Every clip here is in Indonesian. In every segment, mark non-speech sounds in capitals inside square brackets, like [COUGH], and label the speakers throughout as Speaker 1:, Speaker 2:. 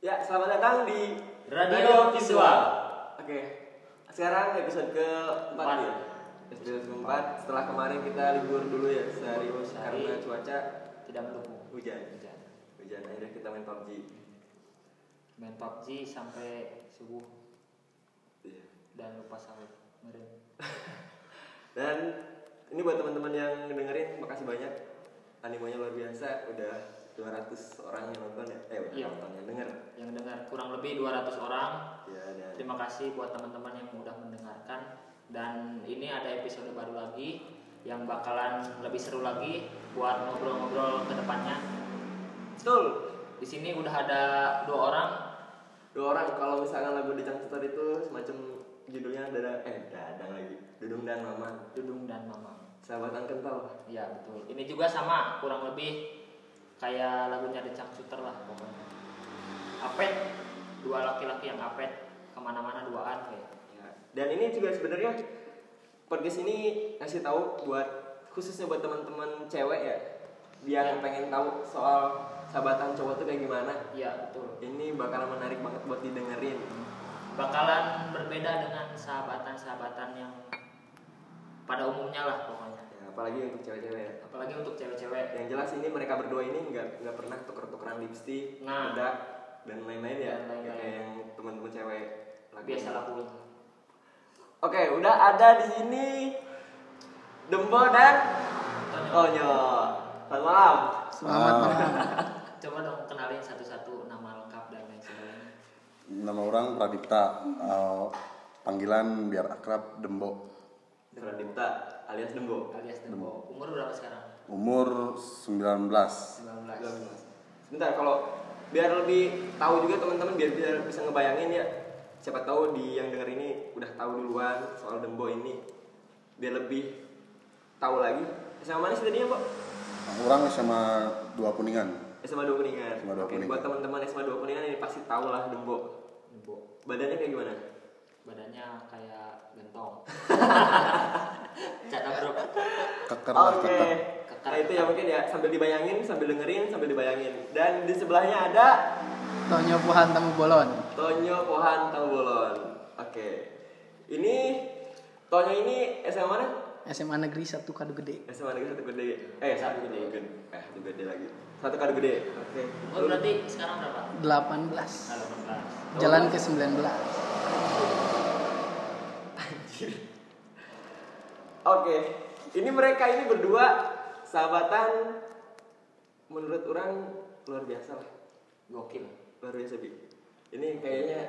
Speaker 1: Ya, selamat datang di
Speaker 2: Radio Visual.
Speaker 1: Oke. Sekarang episode ke-4
Speaker 2: Empat.
Speaker 1: ya. Episode keempat setelah kemarin kita libur dulu ya sehari
Speaker 2: Libur sehari.
Speaker 1: karena cuaca
Speaker 2: Tidak mendukung.
Speaker 1: hujan.
Speaker 2: Hujan.
Speaker 1: Hujan akhirnya kita main PUBG.
Speaker 2: Main PUBG sampai subuh
Speaker 1: Iya.
Speaker 2: dan lupa sahur. Kemarin.
Speaker 1: Dan ini buat teman-teman yang dengerin makasih banyak. Animonya luar biasa, udah 200 orang yang nonton ya. Eh, udah
Speaker 2: Iya.
Speaker 1: nonton yang denger.
Speaker 2: Yang dengar kurang lebih 200 orang.
Speaker 1: Ya, dan
Speaker 2: Terima kasih buat teman-teman yang udah mendengarkan dan ini ada episode baru lagi yang bakalan lebih seru lagi buat ngobrol-ngobrol ke depannya.
Speaker 1: betul.
Speaker 2: Di sini udah ada dua orang
Speaker 1: Dua orang kalau misalkan lagu di Cangcuter itu semacam judulnya ada eh dadang lagi. Dudung dan Mamang.
Speaker 2: Dudung dan Mamang.
Speaker 1: Sahabatan kental.
Speaker 2: Ya betul. Ini juga sama kurang lebih kayak lagunya The Cangcuter lah pokoknya. Apet dua laki-laki yang apet kemana-mana duaan kayak.
Speaker 1: Ya. Dan ini juga sebenarnya podcast ini ngasih tahu buat khususnya buat teman-teman cewek ya yang
Speaker 2: Ya.
Speaker 1: pengen tahu soal sahabatan cowok tuh kayak gimana.
Speaker 2: Ya betul.
Speaker 1: Ini bakalan menarik banget buat didengerin.
Speaker 2: Bakalan berbeda dengan sahabatan-sahabatan yang pada umumnya lah pokoknya.
Speaker 1: Ya, apalagi untuk cewek-cewek ya.
Speaker 2: Apalagi untuk cewek-cewek.
Speaker 1: Yang jelas ini mereka berdua ini nggak nggak pernah tuker-tukeran lipstik,
Speaker 2: Nah.
Speaker 1: bedak dan lain-lain ya.
Speaker 2: Dan lain-lain.
Speaker 1: Kayak yang teman-teman cewek lakuin.
Speaker 2: Biasa lakuin.
Speaker 1: Oke, udah ada di sini Dembo dan
Speaker 2: Tonyo,
Speaker 1: Tonyo. Selamat malam.
Speaker 3: Selamat malam.
Speaker 2: Coba dong kenalin satu-satu nama lengkap dan lain sebagainya.
Speaker 3: Nama orang Pradipta. Eh, panggilan biar akrab Dembo.
Speaker 1: Pradipta alias Dembo.
Speaker 2: Alias Dembo. Umur berapa sekarang?
Speaker 3: Umur 19.
Speaker 2: 19.
Speaker 1: 19. Sebentar kalau biar lebih tahu juga teman-teman biar biar bisa ngebayangin ya. Siapa tahu di yang denger ini udah tahu duluan soal Dembo ini. Biar lebih tahu lagi. Sama mana sih tadinya, Pak?
Speaker 3: Orang sama dua kuningan.
Speaker 1: SMA 2 Kuningan.
Speaker 3: SMA dua
Speaker 1: Oke,
Speaker 3: Kuningan.
Speaker 1: buat teman-teman SMA 2 Kuningan ini pasti tahu lah Dembo.
Speaker 2: Dembo.
Speaker 1: Badannya kayak gimana?
Speaker 2: Badannya kayak gentong. [LAUGHS] Catat bro.
Speaker 3: Keker lah
Speaker 1: Oke.
Speaker 3: keker.
Speaker 1: Nah, itu ya mungkin ya sambil dibayangin, sambil dengerin, sambil dibayangin. Dan di sebelahnya ada
Speaker 4: Tonyo Puhan Tamu Bolon.
Speaker 1: Tonyo Pohan Tambolon. Oke. Ini Tonyo ini SMA mana?
Speaker 4: SMA Negeri 1 Kadu Gede.
Speaker 1: SMA negeri satu gede. Eh, satu gede. Eh, satu gede lagi. Satu kado gede. Oke.
Speaker 2: Umur Oh, berarti sekarang berapa? 18.
Speaker 4: 18. Jalan ke 19.
Speaker 1: Oke. Ini mereka ini berdua sahabatan menurut orang luar biasa lah.
Speaker 2: Gokil.
Speaker 1: Luar biasa, Bi. Ini kayaknya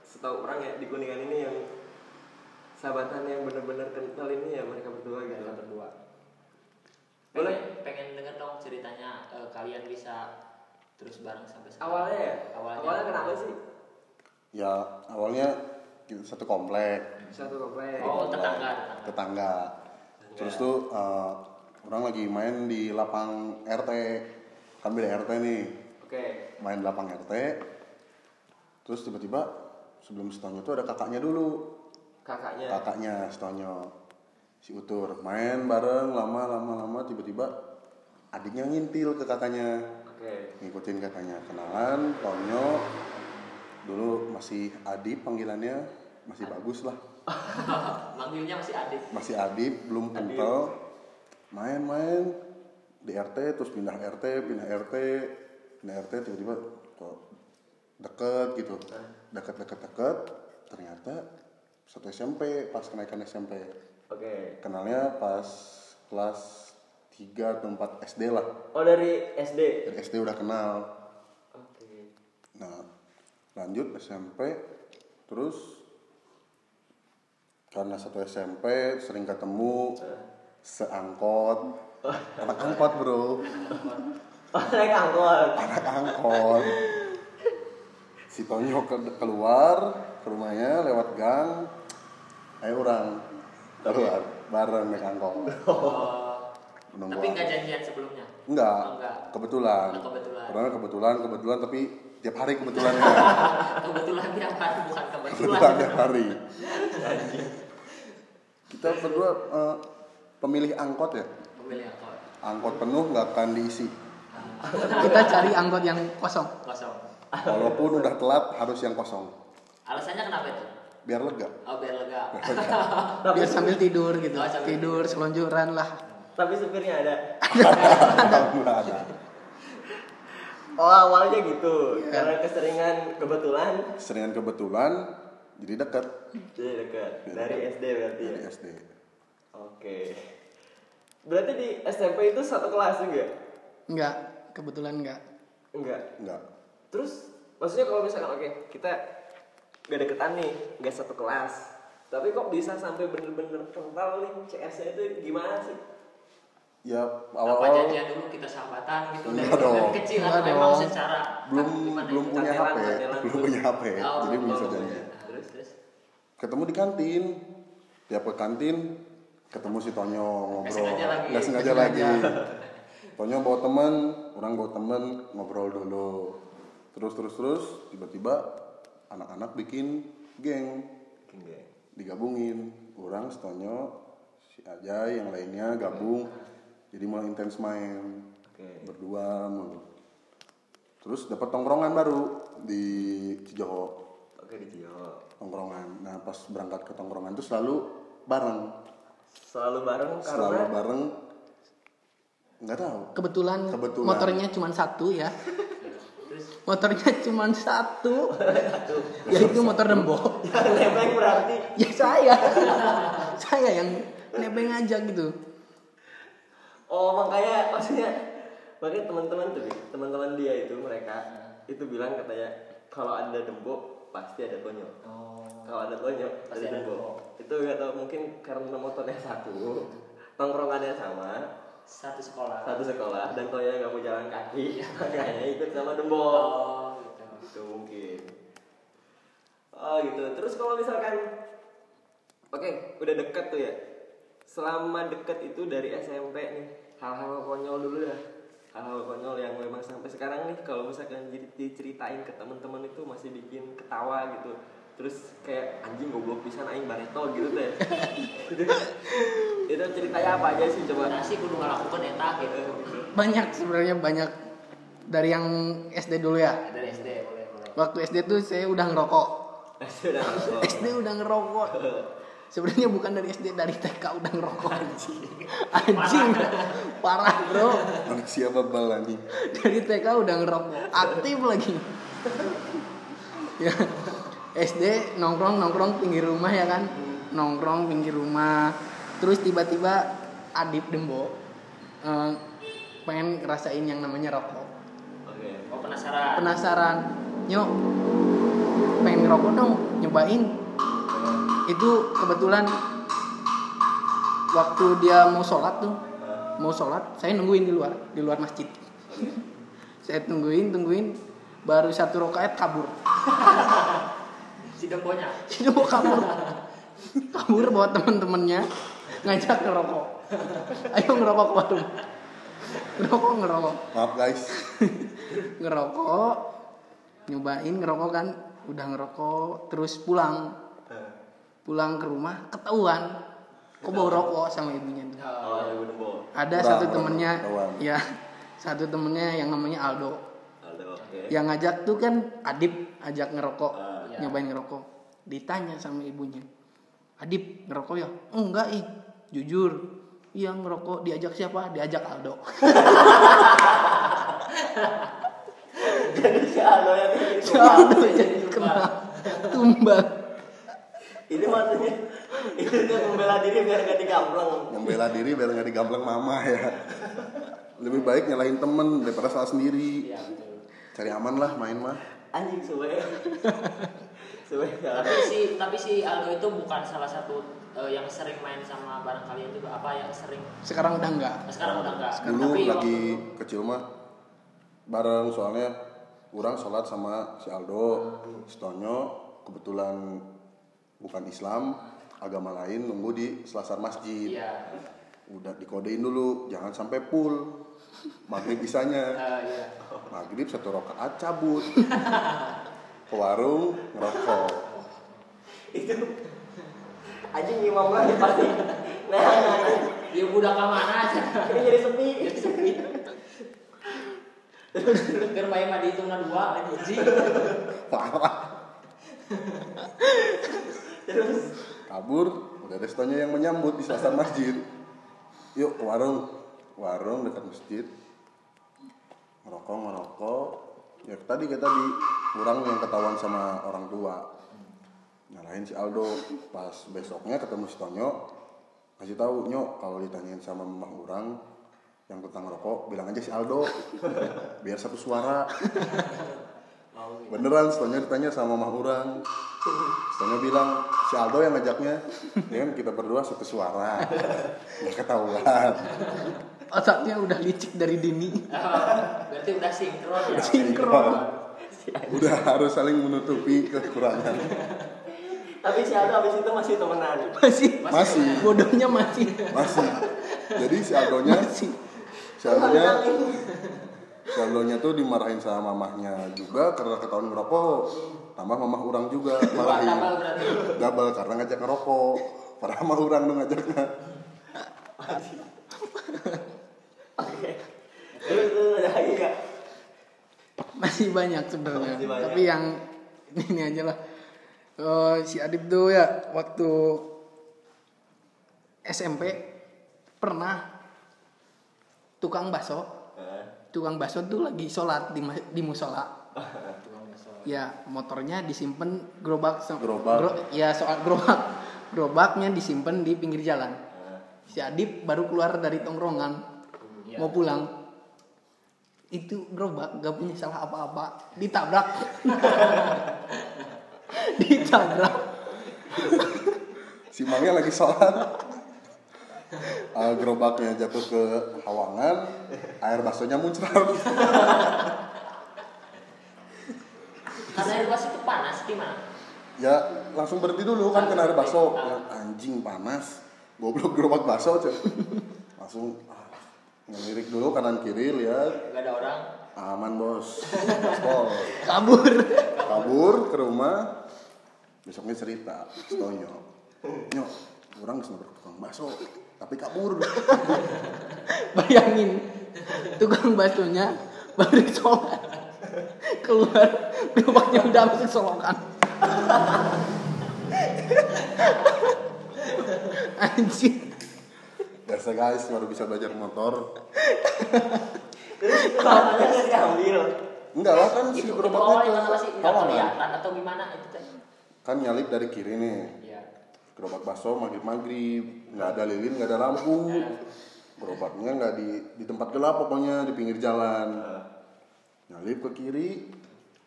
Speaker 1: setahu orang ya di Kuningan ini yang sahabatan yang benar-benar kental ini ya mereka berdua gitu.
Speaker 2: Mereka berdua.
Speaker 1: Boleh?
Speaker 2: Pengen, pengen denger dong ceritanya eh, kalian bisa terus bareng sampai sekarang.
Speaker 1: Awalnya ya?
Speaker 2: Awalnya.
Speaker 1: Awalnya kenapa sih?
Speaker 3: Ya awalnya gitu, satu komplek
Speaker 1: Satu komplek.
Speaker 2: Oh, tetangga, tetangga.
Speaker 3: tetangga. Terus tuh eh, orang lagi main di lapang RT. Kan beda RT nih.
Speaker 1: Oke.
Speaker 3: Main di lapang RT. Terus tiba-tiba sebelum setahunnya tuh ada kakaknya dulu.
Speaker 1: Kakaknya.
Speaker 3: kakaknya Stonyo si Utur main bareng lama lama lama tiba-tiba adiknya ngintil ke kakaknya
Speaker 1: Oke.
Speaker 3: ngikutin kakaknya kenalan Tonyo dulu masih Adi panggilannya masih bagus lah
Speaker 2: Manggilnya masih Adit.
Speaker 3: masih Adi belum kental main-main di RT terus pindah RT pindah RT pindah RT tiba-tiba kok deket gitu deket deket deket ternyata satu SMP pas kenaikan SMP
Speaker 1: Oke.
Speaker 3: kenalnya pas kelas 3 atau 4 SD lah
Speaker 1: Oh dari SD.
Speaker 3: dari SD udah kenal
Speaker 1: Oke. [LAUGHS]
Speaker 3: nah lanjut SMP terus karena satu SMP sering ketemu seangkot anak angkot bro
Speaker 1: Oh naik angkot.
Speaker 3: anak angkot si Tonyo ke- keluar ke rumahnya lewat gang ayo orang keluar bareng naik angkot
Speaker 2: Oh.
Speaker 3: Nunggu
Speaker 2: Tapi
Speaker 3: aku.
Speaker 2: nggak janjian [LAUGHS] sebelumnya.
Speaker 3: Enggak,
Speaker 2: Oh, enggak.
Speaker 3: kebetulan.
Speaker 2: Oh, kebetulan.
Speaker 3: Karena kebetulan, kebetulan tapi tiap hari kebetulan ya.
Speaker 2: [LAUGHS] Kebetulan ya Pak, bukan kebetulan.
Speaker 3: kebetulan tiap hari. Kita berdua eh, pemilih angkot ya.
Speaker 2: Pemilih angkot.
Speaker 3: Angkot penuh nggak akan diisi.
Speaker 4: Kita cari angkot yang kosong.
Speaker 2: Kosong.
Speaker 3: Walaupun udah telat harus yang kosong.
Speaker 2: Alasannya kenapa itu?
Speaker 3: Biar lega.
Speaker 2: [LAUGHS] Oh biar lega.
Speaker 1: tapi,
Speaker 4: biar sambil tidur gitu
Speaker 2: Oh, sambil
Speaker 4: tidur selonjoran lah
Speaker 1: tapi supirnya ada
Speaker 3: Alhamdulillah ada.
Speaker 1: oh awalnya
Speaker 2: Iya.
Speaker 1: gitu karena keseringan kebetulan
Speaker 3: Seringan kebetulan jadi dekat
Speaker 1: jadi dekat dari SD berarti ya
Speaker 2: Iya.
Speaker 3: dari SD.
Speaker 1: oke berarti di SMP itu satu kelas juga
Speaker 4: enggak kebetulan enggak
Speaker 1: enggak
Speaker 3: Enggak.
Speaker 1: Terus maksudnya kalau misalkan oke kita gak deketan nih, gak satu kelas. Tapi kok bisa sampai bener-bener kental nih CS-nya itu gimana sih?
Speaker 3: Ya
Speaker 2: Apa
Speaker 3: awal-awal
Speaker 2: jadinya dulu kita sahabatan gitu dari,
Speaker 3: Enggak dong.
Speaker 2: dari kecil
Speaker 4: Enggak
Speaker 2: atau emang
Speaker 4: dong.
Speaker 2: secara
Speaker 3: belum
Speaker 2: gimana
Speaker 3: belum
Speaker 2: itu?
Speaker 3: punya
Speaker 1: Cantelan,
Speaker 3: HP,
Speaker 1: cantelan
Speaker 3: belum
Speaker 1: dulu.
Speaker 3: punya HP,
Speaker 2: Oh,
Speaker 3: jadi
Speaker 2: belum
Speaker 3: belum bisa
Speaker 1: punya.
Speaker 3: janji.
Speaker 2: Nah, terus terus
Speaker 3: Ketemu di kantin, tiap ke kantin ketemu si Tonyo
Speaker 2: Nggak
Speaker 3: ngobrol,
Speaker 2: sengaja lagi.
Speaker 3: nggak sengaja
Speaker 4: Nggak
Speaker 3: lagi. Tonyo bawa temen, orang bawa temen ngobrol dulu, terus terus terus tiba-tiba anak-anak bikin geng digabungin, orang si Tonyo, si Ajay yang lainnya gabung, jadi mulai intens main
Speaker 1: Oke.
Speaker 3: berdua mulu. Terus dapat tongkrongan baru di Cijoho
Speaker 1: Oke di Cio.
Speaker 3: tongkrongan. Nah pas berangkat ke tongkrongan itu selalu bareng,
Speaker 1: Selalu bareng
Speaker 3: selalu
Speaker 1: karena
Speaker 3: bareng. Nggak tahu.
Speaker 4: kebetulan,
Speaker 3: Kebetulan.
Speaker 4: motornya cuma satu ya
Speaker 2: terus
Speaker 4: motornya cuma satu yaitu motor dembo
Speaker 1: yang [LAUGHS] nebeng berarti.
Speaker 4: ya saya saya yang nebeng aja gitu
Speaker 1: Oh makanya maksudnya makanya teman-teman tuh teman-teman dia itu mereka itu bilang katanya kalau ada dembo pasti ada konyol.
Speaker 2: oh
Speaker 1: Kalau ada konyol
Speaker 2: Pasti
Speaker 1: pasti
Speaker 2: ada
Speaker 1: ada dembo. Itu nggak tahu mungkin karena motornya satu, tongkrongannya sama,
Speaker 2: satu sekolah.
Speaker 1: satu sekolah dan Toya nggak mau jalan kaki [LAUGHS] makanya ikut sama Dembo
Speaker 2: Oh gitu.
Speaker 1: itu mungkin oh gitu terus kalau misalkan oke udah deket tuh ya selama deket itu dari SMP nih hal-hal konyol dulu dah hal-hal konyol yang memang sampai sekarang nih kalau misalkan di- diceritain ke teman-teman itu masih bikin ketawa gitu terus kayak anjing goblok pisan aing bareto gitu deh itu, [LAUGHS] itu ceritanya apa aja sih coba [LAUGHS]
Speaker 2: Nasi kudu ngelakukan eta gitu.
Speaker 4: banyak sebenarnya banyak dari yang SD dulu ya
Speaker 2: Dari SD boleh boleh.
Speaker 4: waktu SD tuh saya udah ngerokok [LAUGHS]
Speaker 1: sudah
Speaker 4: SD udah ngerokok sebenarnya bukan dari SD dari TK udah ngerokok anjing anjing parah bro
Speaker 3: Manusia bebal anjing.
Speaker 4: dari TK udah ngerokok aktif lagi ya SD nongkrong nongkrong pinggir rumah ya kan nongkrong pinggir rumah terus tiba-tiba Adip Dembo eh, pengen ngerasain yang namanya rokok
Speaker 1: oke
Speaker 2: Oh penasaran.
Speaker 4: penasaran nyok pengen ngerokok dong nyobain itu kebetulan waktu dia mau sholat tuh mau sholat saya nungguin di luar di luar masjid saya tungguin tungguin baru satu rakaat kabur [LAUGHS]
Speaker 2: Si dembonya.
Speaker 4: itu mau kabur kabur bawa teman-temannya ngajak ngerokok ayo ngerokok ke warung ngerokok ngerokok
Speaker 3: Maaf guys.
Speaker 4: ngerokok nyobain ngerokok kan udah ngerokok terus pulang pulang ke rumah ketahuan kok bawa rokok sama ibunya tuh
Speaker 1: Oh, ada Ibu Dembo.
Speaker 4: ada
Speaker 3: Kurang,
Speaker 4: satu
Speaker 3: kurang,
Speaker 4: temennya
Speaker 3: ketahuan.
Speaker 4: ya satu temennya yang namanya Aldo
Speaker 1: Ada oke.
Speaker 4: yang ngajak tuh kan Adip ajak ngerokok
Speaker 1: Ah.
Speaker 2: Iya.
Speaker 4: nyobain ngerokok ditanya sama ibunya Adip ngerokok ya enggak ih jujur iya ngerokok diajak siapa diajak Aldo
Speaker 1: [LAUGHS]
Speaker 4: [LAUGHS]
Speaker 1: Jadi si Aldo yang bikin
Speaker 4: Si
Speaker 1: tumbal.
Speaker 4: Aldo jadi kenal tumbal
Speaker 1: Ini maksudnya itu dia membela diri biar gak digampleng.
Speaker 3: Membela diri biar nggak digambleng mama ya. Lebih baik nyalahin temen daripada salah sendiri.
Speaker 2: Iya betul.
Speaker 3: Cari aman lah main mah.
Speaker 1: Anjing suwe. suwe ya.
Speaker 2: tapi si tapi si Aldo itu bukan salah satu eh, yang sering main sama barang kalian juga apa yang sering
Speaker 4: sekarang udah enggak
Speaker 2: nah, sekarang udah enggak
Speaker 3: Dulu
Speaker 2: tapi
Speaker 3: lagi
Speaker 2: waktu
Speaker 3: kecil mah bareng soalnya orang sholat sama si Aldo, si Tonyo kebetulan bukan Islam, agama lain nunggu di selasar
Speaker 2: itu-
Speaker 3: masjid.
Speaker 2: iya
Speaker 3: Udah dikodein dulu, jangan sampai full. Maghrib bisanya.
Speaker 2: eh, iya
Speaker 3: Maghrib satu rakaat cabut. Ke warung ngerokok.
Speaker 1: Itu anjing imam lagi pasti. Nah, anjing.
Speaker 2: [LAUGHS] dia budak mana aja
Speaker 1: ini jadi sepi.
Speaker 2: Jadi sepi. Keur bae mah dihitungna dua kan [LAUGHS] hiji.
Speaker 3: parah
Speaker 1: Terus
Speaker 3: kabur udah restonya yang menyambut di selasar masjid yuk ke warung warung dekat masjid merokok merokok ya tadi kita di kurang yang ketahuan sama orang tua nyalahin si Aldo pas besoknya ketemu si Tonyo kasih tahu nyok kalau ditanyain sama mamah orang yang tentang rokok bilang aja si Aldo biar satu suara
Speaker 2: Mau gitu.
Speaker 3: Beneran, setelahnya ditanya sama mah orang. Setelahnya bilang, si Aldo yang ngajaknya. Ya kan kita berdua satu suara. Nggak ketahuan.
Speaker 4: Otaknya udah licik dari dini.
Speaker 2: Ah, Berarti udah sinkron ya.
Speaker 4: Sinkron.
Speaker 3: Udah harus saling menutupi kekurangan.
Speaker 1: [LAUGHS] tapi si Aldo abis itu masih temenan.
Speaker 4: Masih
Speaker 3: Masih,
Speaker 4: bodohnya masih.
Speaker 3: masih. Jadi si Aldonya,
Speaker 4: Masih.
Speaker 3: si Aldonya, si Aldonya tuh dimarahin sama mamahnya juga karena ketahuan ngerokok. Tambah mamah orang juga
Speaker 2: Dua tambah
Speaker 3: marahin.
Speaker 2: berarti.
Speaker 3: Double karena ngajak ngerokok. Padahal mah orang dong ngajaknya.
Speaker 1: Oke. Terus terus ya, iya. ada lagi nggak?
Speaker 4: Masih banyak sebenarnya.
Speaker 1: Masih banyak.
Speaker 4: Tapi yang ini aja lah. Eh, si Adib tuh ya waktu SMP pernah tukang bakso.
Speaker 1: Eh,
Speaker 4: Tukang bakso tuh lagi sholat di ma- di musola.
Speaker 2: [LAUGHS] Tukang bakso.
Speaker 4: ya motornya disimpan gerobak so-
Speaker 3: Gerobak.
Speaker 4: ya soal gerobak [LAUGHS] gerobaknya disimpan di pinggir jalan si Adip baru keluar dari tongkrongan
Speaker 2: Eh. Iya.
Speaker 4: mau pulang itu gerobak gak punya salah apa-apa
Speaker 2: [LAUGHS]
Speaker 4: ditabrak [LAUGHS] ditabrak
Speaker 3: si Mangnya lagi sholat Eh, gerobaknya jatuh ke hawangan air baksonya muncrat
Speaker 2: Karena air kelas itu panas gimana?
Speaker 3: ya langsung berhenti dulu kan kena air bakso Ya, anjing panas goblok gerobak bakso cuy. langsung ah, ngelirik dulu kanan kiri lihat
Speaker 2: Gak ada orang.
Speaker 3: aman bos Gaspol.
Speaker 4: kabur
Speaker 3: kabur ke rumah besoknya cerita stonyo nyok orang nggak tukang bakso tapi kabur
Speaker 4: bayangin tukang baksonya baru sholat keluar gerobaknya udah masuk solokan anjing
Speaker 3: biasa guys baru bisa belajar motor
Speaker 1: Terus itu tangannya nggak diambil.
Speaker 3: Enggak lah kan si
Speaker 2: Itu itu
Speaker 3: gerobaknya
Speaker 2: awalnya
Speaker 3: ke
Speaker 2: kenapa sih Iya, nggak
Speaker 3: kawanan.
Speaker 2: kelihatan atau gimana itu teh?
Speaker 3: Kan nyalip dari kiri nih.
Speaker 2: Iya.
Speaker 3: Gerobak bakso maghrib maghrib nggak ada lilin nggak ada lampu. Gerobaknya nggak di di tempat gelap pokoknya di pinggir jalan. Nyalip ke kiri.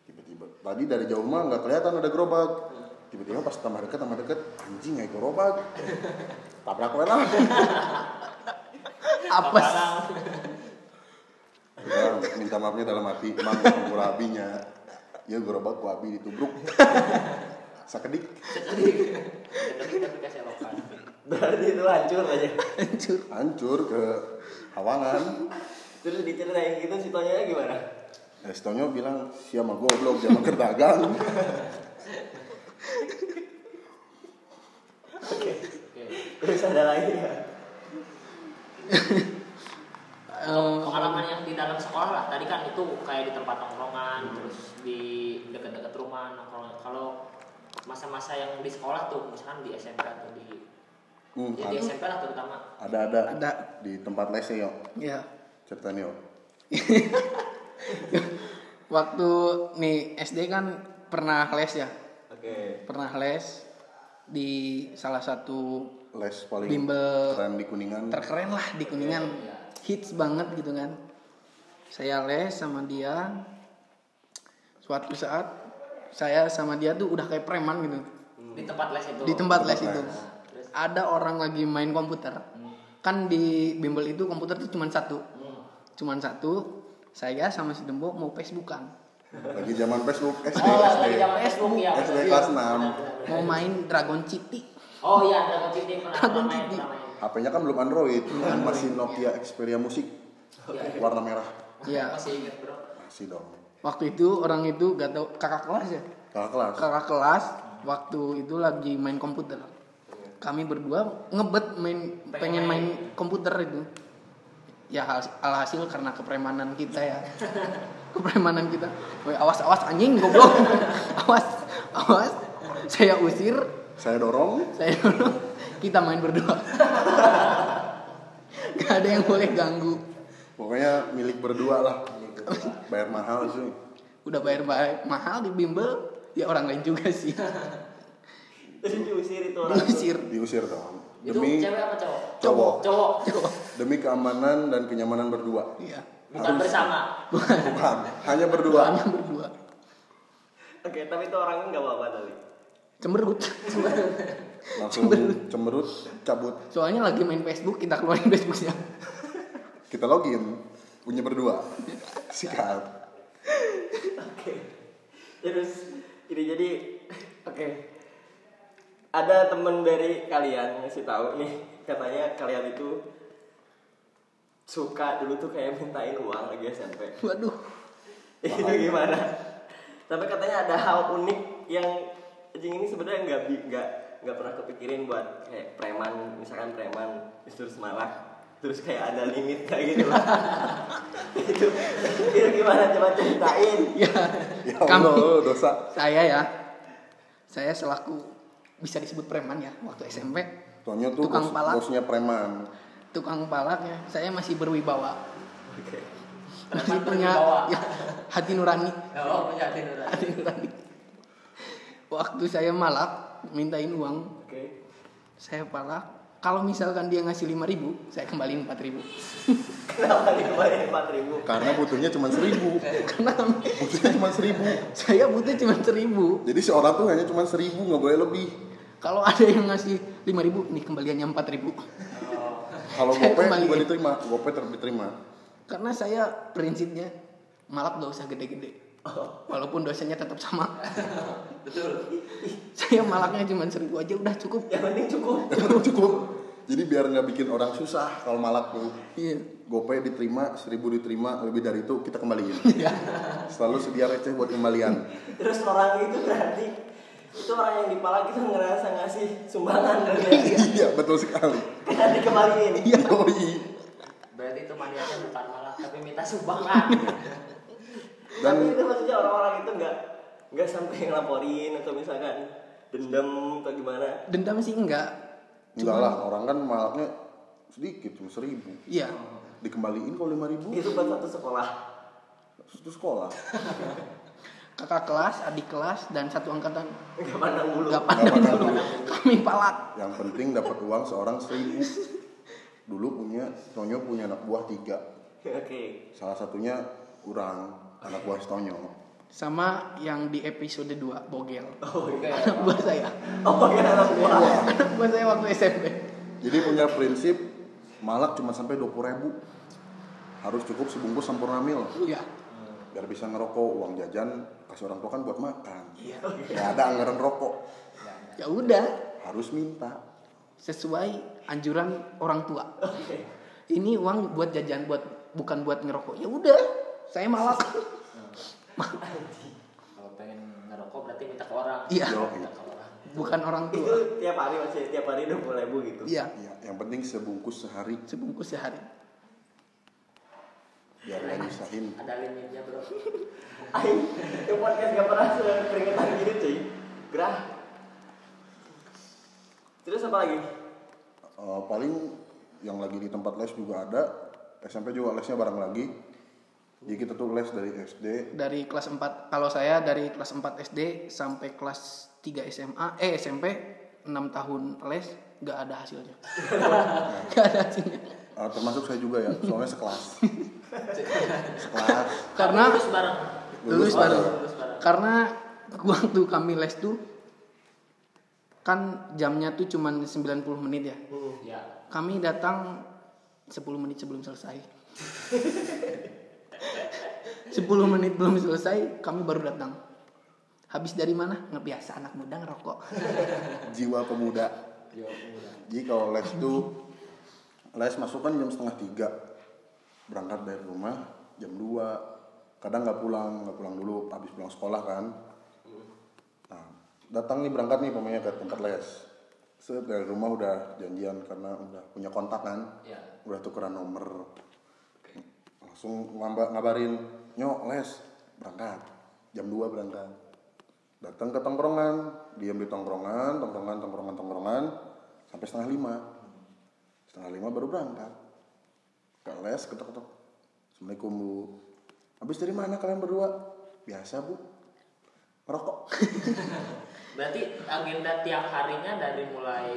Speaker 3: Tiba-tiba tadi dari jauh mah nggak kelihatan ada gerobak. Tiba-tiba pas tambah deket tambah deket anjing nggak gerobak. Tabrak we lah.
Speaker 4: apes
Speaker 3: Udah, minta maafnya dalam hati emang kurang kurabinya. Ya gerobak kurabi ditubruk. Sakedik.
Speaker 2: Tapi tapi kasih lokan.
Speaker 1: Berarti itu hancur aja.
Speaker 4: hancur
Speaker 3: hancur ke Hawangan.
Speaker 1: Terus diceritain gitu si Tonyo gimana?
Speaker 3: Estonyo bilang, siapa goblok, jangan kerdagang.
Speaker 2: Oke.
Speaker 1: Terus ada lagi ya.
Speaker 4: Eh,
Speaker 2: Pengalaman yang di dalam sekolah lah. Tadi kan itu kayak di tempat nongkrongan, terus di dekat-dekat rumah nongkrong. Kalau masa-masa yang di sekolah tuh, misalkan di SMP atau di
Speaker 3: Hmm,
Speaker 2: ya di SMP lah terutama.
Speaker 3: ada, ada
Speaker 4: Ada.
Speaker 3: di tempat lesnya yo.
Speaker 4: ya
Speaker 3: Cerita nih yo.
Speaker 4: waktu nih SD kan pernah les ya
Speaker 1: Oke.
Speaker 4: pernah les di salah satu
Speaker 3: Les paling
Speaker 4: Bimbel.
Speaker 3: keren di Kuningan.
Speaker 4: terkeren lah di kuningan hits banget gitu kan saya les sama dia suatu saat saya sama dia tuh udah kayak preman gitu
Speaker 2: Di tempat les itu.
Speaker 4: di tempat les itu
Speaker 2: Terus?
Speaker 4: ada orang lagi main komputer kan di bimbel itu komputer tuh cuman satu
Speaker 3: [LAUGHS]
Speaker 2: Hmm.
Speaker 4: cuman satu saya sama si Dembo mau Facebookan
Speaker 3: Lagi zaman Facebook SD,
Speaker 2: Oh,
Speaker 3: SD.
Speaker 2: lagi zaman Facebook ya.
Speaker 3: SD kelas
Speaker 2: betul. Iya,
Speaker 3: enam.
Speaker 2: benar-benar.
Speaker 4: mau main Dragon City
Speaker 2: Oh iya, Dragon City pernah pernah
Speaker 4: Dragon
Speaker 2: main,
Speaker 4: City.
Speaker 2: pernah main.
Speaker 3: HP-nya kan belum Android, masih Nokia Xperia Musik.
Speaker 2: Iya,
Speaker 3: Warna merah.
Speaker 4: ya
Speaker 2: [LAUGHS] Masih ingat bro.
Speaker 3: Masih dong.
Speaker 4: waktu itu orang itu gak tau kakak kelas ya
Speaker 3: Kakak kelas.
Speaker 4: kakak kelas waktu itu lagi main komputer kami berdua ngebet main pengen main komputer itu ya hal- alhasil karena kepremanan kita ya kepremanan kita Woi awas awas anjing goblok [LAUGHS] awas awas saya usir
Speaker 3: Saya dorong.
Speaker 4: saya dulu kita main berdua [LAUGHS] gak ada yang boleh ganggu
Speaker 3: Pokoknya milik berdua lah. Bayar mahal sih.
Speaker 4: udah bayar bayar mahal di bimbel ya orang lain juga sih
Speaker 1: Jadi diusir itu orang.
Speaker 4: diusir
Speaker 3: Diusir dong.
Speaker 2: Itu
Speaker 3: Demi
Speaker 2: cewek apa cowok?
Speaker 3: Cowok.
Speaker 2: Cowok.
Speaker 3: demi keamanan dan kenyamanan berdua.
Speaker 4: iya
Speaker 2: Bukan
Speaker 3: Harus.
Speaker 2: bersama.
Speaker 3: Bukan, hanya berdua.
Speaker 4: doanya berdua
Speaker 1: Oke, tapi itu orangnya nggak apa-apa tapi.
Speaker 4: cemberut [LAUGHS]
Speaker 3: Langsung cemberut, cabut.
Speaker 4: soalnya lagi main Facebook kita keluarin Facebooknya [LAUGHS]
Speaker 3: Kita login, punya berdua. Sikat.
Speaker 1: Ya, Terus ini jadi oke. Ada temen dari kalian ngasih tahu nih katanya kalian itu suka dulu tuh kayak mintain uang lagi SMP.
Speaker 4: waduh
Speaker 1: itu Iya, gimana? Tapi katanya ada hal unik yang anjing ini sebenarnya nggak bi- nggak nggak pernah kepikirin buat kayak preman misalkan preman Mister Semarang terus kayak ada limitnya gitu lah itu itu gimana coba ceritain
Speaker 4: ya
Speaker 3: Ya
Speaker 4: kami
Speaker 3: Allah, dosa.
Speaker 4: saya ya saya selaku bisa disebut preman ya waktu SMP
Speaker 3: Soalnya tuh
Speaker 4: Tukang
Speaker 3: bos-
Speaker 4: palak.
Speaker 3: bosnya preman.
Speaker 4: tukang palaknya saya masih berwibawa
Speaker 1: oke
Speaker 4: masih
Speaker 2: Preman
Speaker 4: punya
Speaker 2: berwibawa.
Speaker 4: [LAUGHS] ya, hati nurani
Speaker 2: Oh, punya hati nurani.
Speaker 4: hati nurani waktu saya malak mintain uang
Speaker 1: oke
Speaker 4: saya palak kalau misalkan dia ngasih 5000 saya kembaliin 4000
Speaker 1: kenapa dikembaliin empat ribu
Speaker 3: Karena butuhnya cuma seribu.
Speaker 4: [LAUGHS] karena
Speaker 3: Butuhnya cuma seribu.
Speaker 4: saya butuh cuma 1000
Speaker 3: Jadi seorang tuh hanya cuma seribu, nggak boleh lebih.
Speaker 4: kalau ada yang ngasih 5000 ini kembaliannya 4000
Speaker 3: Kalau
Speaker 4: Saya
Speaker 3: gope
Speaker 4: kembaliin.
Speaker 3: juga diterima, gope ter- diterima. [LAUGHS]
Speaker 4: karena saya prinsipnya malak gak usah gede-gede
Speaker 1: Oh.
Speaker 4: walaupun dosanya tetap sama [LAUGHS]
Speaker 2: Betul.
Speaker 4: saya malaknya cuma 1000 aja udah cukup
Speaker 1: yang penting cukup
Speaker 3: Cukup. Jadi biar nggak bikin orang susah kalau malak tuh.
Speaker 4: iya
Speaker 3: Gope diterima, seribu diterima, lebih dari itu kita kembaliin.
Speaker 4: Iya.
Speaker 3: Selalu sedia receh buat kembalian.
Speaker 1: terus orang itu berarti itu orang yang dipalak itu ngerasa ngasih sumbangan dari dia.
Speaker 3: [LAUGHS] iya, betul sekali.
Speaker 1: karena dikembaliin
Speaker 3: Yoi.
Speaker 2: Berarti itu maniaknya bukan malah tapi minta sumbangan.
Speaker 1: tapi
Speaker 3: Dan
Speaker 1: itu maksudnya orang-orang itu nggak nggak sampai ngelaporin atau misalkan dendam atau gimana
Speaker 4: dendam sih enggak
Speaker 3: enggak lah, orang kan malaknya sedikit cuma seribu.
Speaker 4: Iya.
Speaker 3: Dikembaliin kalau lima ribu,
Speaker 1: itu buat satu sekolah
Speaker 3: itu sekolah.
Speaker 4: Kakak kelas, adik kelas, dan satu angkatan.
Speaker 1: nggak pandang bulu
Speaker 4: Gak
Speaker 3: Nggak
Speaker 4: pandang
Speaker 3: pandang
Speaker 4: bulu. Kami palak.
Speaker 3: Yang penting dapat uang seorang seribu. Dulu punya, Tonyo punya anak buah tiga.
Speaker 1: [LAUGHS] oke
Speaker 3: Salah satunya kurang anak buah si Tonyo.
Speaker 4: Sama yang di episode 2, Bogel.
Speaker 1: oh iya
Speaker 4: Anak buah saya.
Speaker 1: oh iya anak buah
Speaker 4: Anak buah saya waktu SMP.
Speaker 3: Jadi punya prinsip malak cuma sampai dua ribu. Harus cukup sebungkus sempurna mil
Speaker 4: Iya.
Speaker 3: biar bisa ngerokok uang jajan kasih orang tua kan buat makan.
Speaker 4: Iya.
Speaker 3: Gak ada anggaran rokok,
Speaker 4: Ya udah,
Speaker 3: harus minta.
Speaker 4: sesuai anjuran orang tua. Ini uang buat jajan buat bukan buat ngerokok. Ya udah, saya malak.
Speaker 2: Kalau pengen ngerokok berarti minta ke orang.
Speaker 4: Iya.
Speaker 3: Yoi.
Speaker 2: Minta ke orang.
Speaker 4: [LAUGHS] Bukan orang
Speaker 1: itu
Speaker 4: tua.
Speaker 1: tiap hari masih tiap hari udah mulai bu gitu
Speaker 4: Iya.
Speaker 3: Iya, yang penting sebungkus sehari
Speaker 4: Sebungkus sehari.
Speaker 3: biar nggak nyusahin.
Speaker 2: Ada limitnya, Bro.
Speaker 1: Aing yang podcast gak pernah sekeringetan gini cuy gerah terus apa lagi
Speaker 3: Eh, paling yang lagi di tempat les juga ada, SMP juga lesnya bareng lagi. Jadi kita tuh les dari Eh, SD,
Speaker 4: dari kelas 4 kalau saya dari kelas 4 SD sampai kelas 3 SMA eh SMP 6 tahun les nggak ada hasilnya
Speaker 2: [LAUGHS]
Speaker 4: nggak ada hasilnya
Speaker 3: Eh, termasuk saya juga ya, soalnya sekelas. sekelas.
Speaker 4: karena
Speaker 2: lulus bareng.
Speaker 4: lulus baru
Speaker 2: Lulus bareng.
Speaker 4: karena waktu kami les tuh kan jamnya tuh cuman 90 menit ya
Speaker 2: Iya.
Speaker 4: kami datang 10 menit sebelum selesai [LAUGHS] 10 menit belum selesai kami baru datang habis dari mana ngebiasa anak muda ngerokok
Speaker 3: Jiwa pemuda.
Speaker 2: Yo, udah.
Speaker 3: Jadi kalau les tuh les masuk kan jam setengah tiga, berangkat dari rumah jam 2 kadang nggak pulang nggak pulang dulu habis pulang sekolah kan nah datang nih berangkat nih pemainnya ke tempat les set dari rumah udah janjian karena udah punya kontak kan
Speaker 2: Iya.
Speaker 3: udah tukeran nomor langsung ngamba- ngabarin nyok les berangkat jam 2 berangkat datang ke tongkrongan diam di tongkrongan tongkrongan tongkrongan tongkrongan sampai setengah lima setengah lima baru berangkat ke les ketok ketok assalamualaikum bu habis dari mana kalian berdua biasa bu merokok
Speaker 2: Berarti agenda tiap harinya dari mulai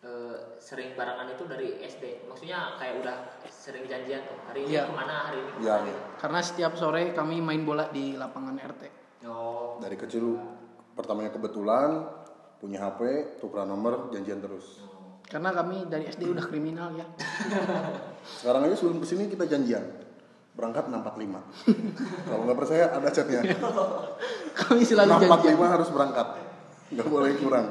Speaker 2: eh, sering barengan itu dari SD. Maksudnya kayak udah sering janjian tuh. Hari ini
Speaker 4: Iya.
Speaker 2: kemana, hari ini
Speaker 3: Iya,
Speaker 2: kemana.
Speaker 3: iya.
Speaker 4: Karena setiap sore kami main bola di lapangan RT.
Speaker 2: Oh,
Speaker 3: dari kecil pertamanya kebetulan punya HP tukeran nomor janjian terus
Speaker 4: Karena kami dari SD udah kriminal ya. [LAUGHS]
Speaker 3: sekarang aja sebelum kesini kita janjian berangkat
Speaker 4: [LAUGHS]
Speaker 3: 645 kalau nggak percaya ada chatnya
Speaker 4: Kami selalu janjian.
Speaker 3: 645 harus berangkat nggak boleh kurang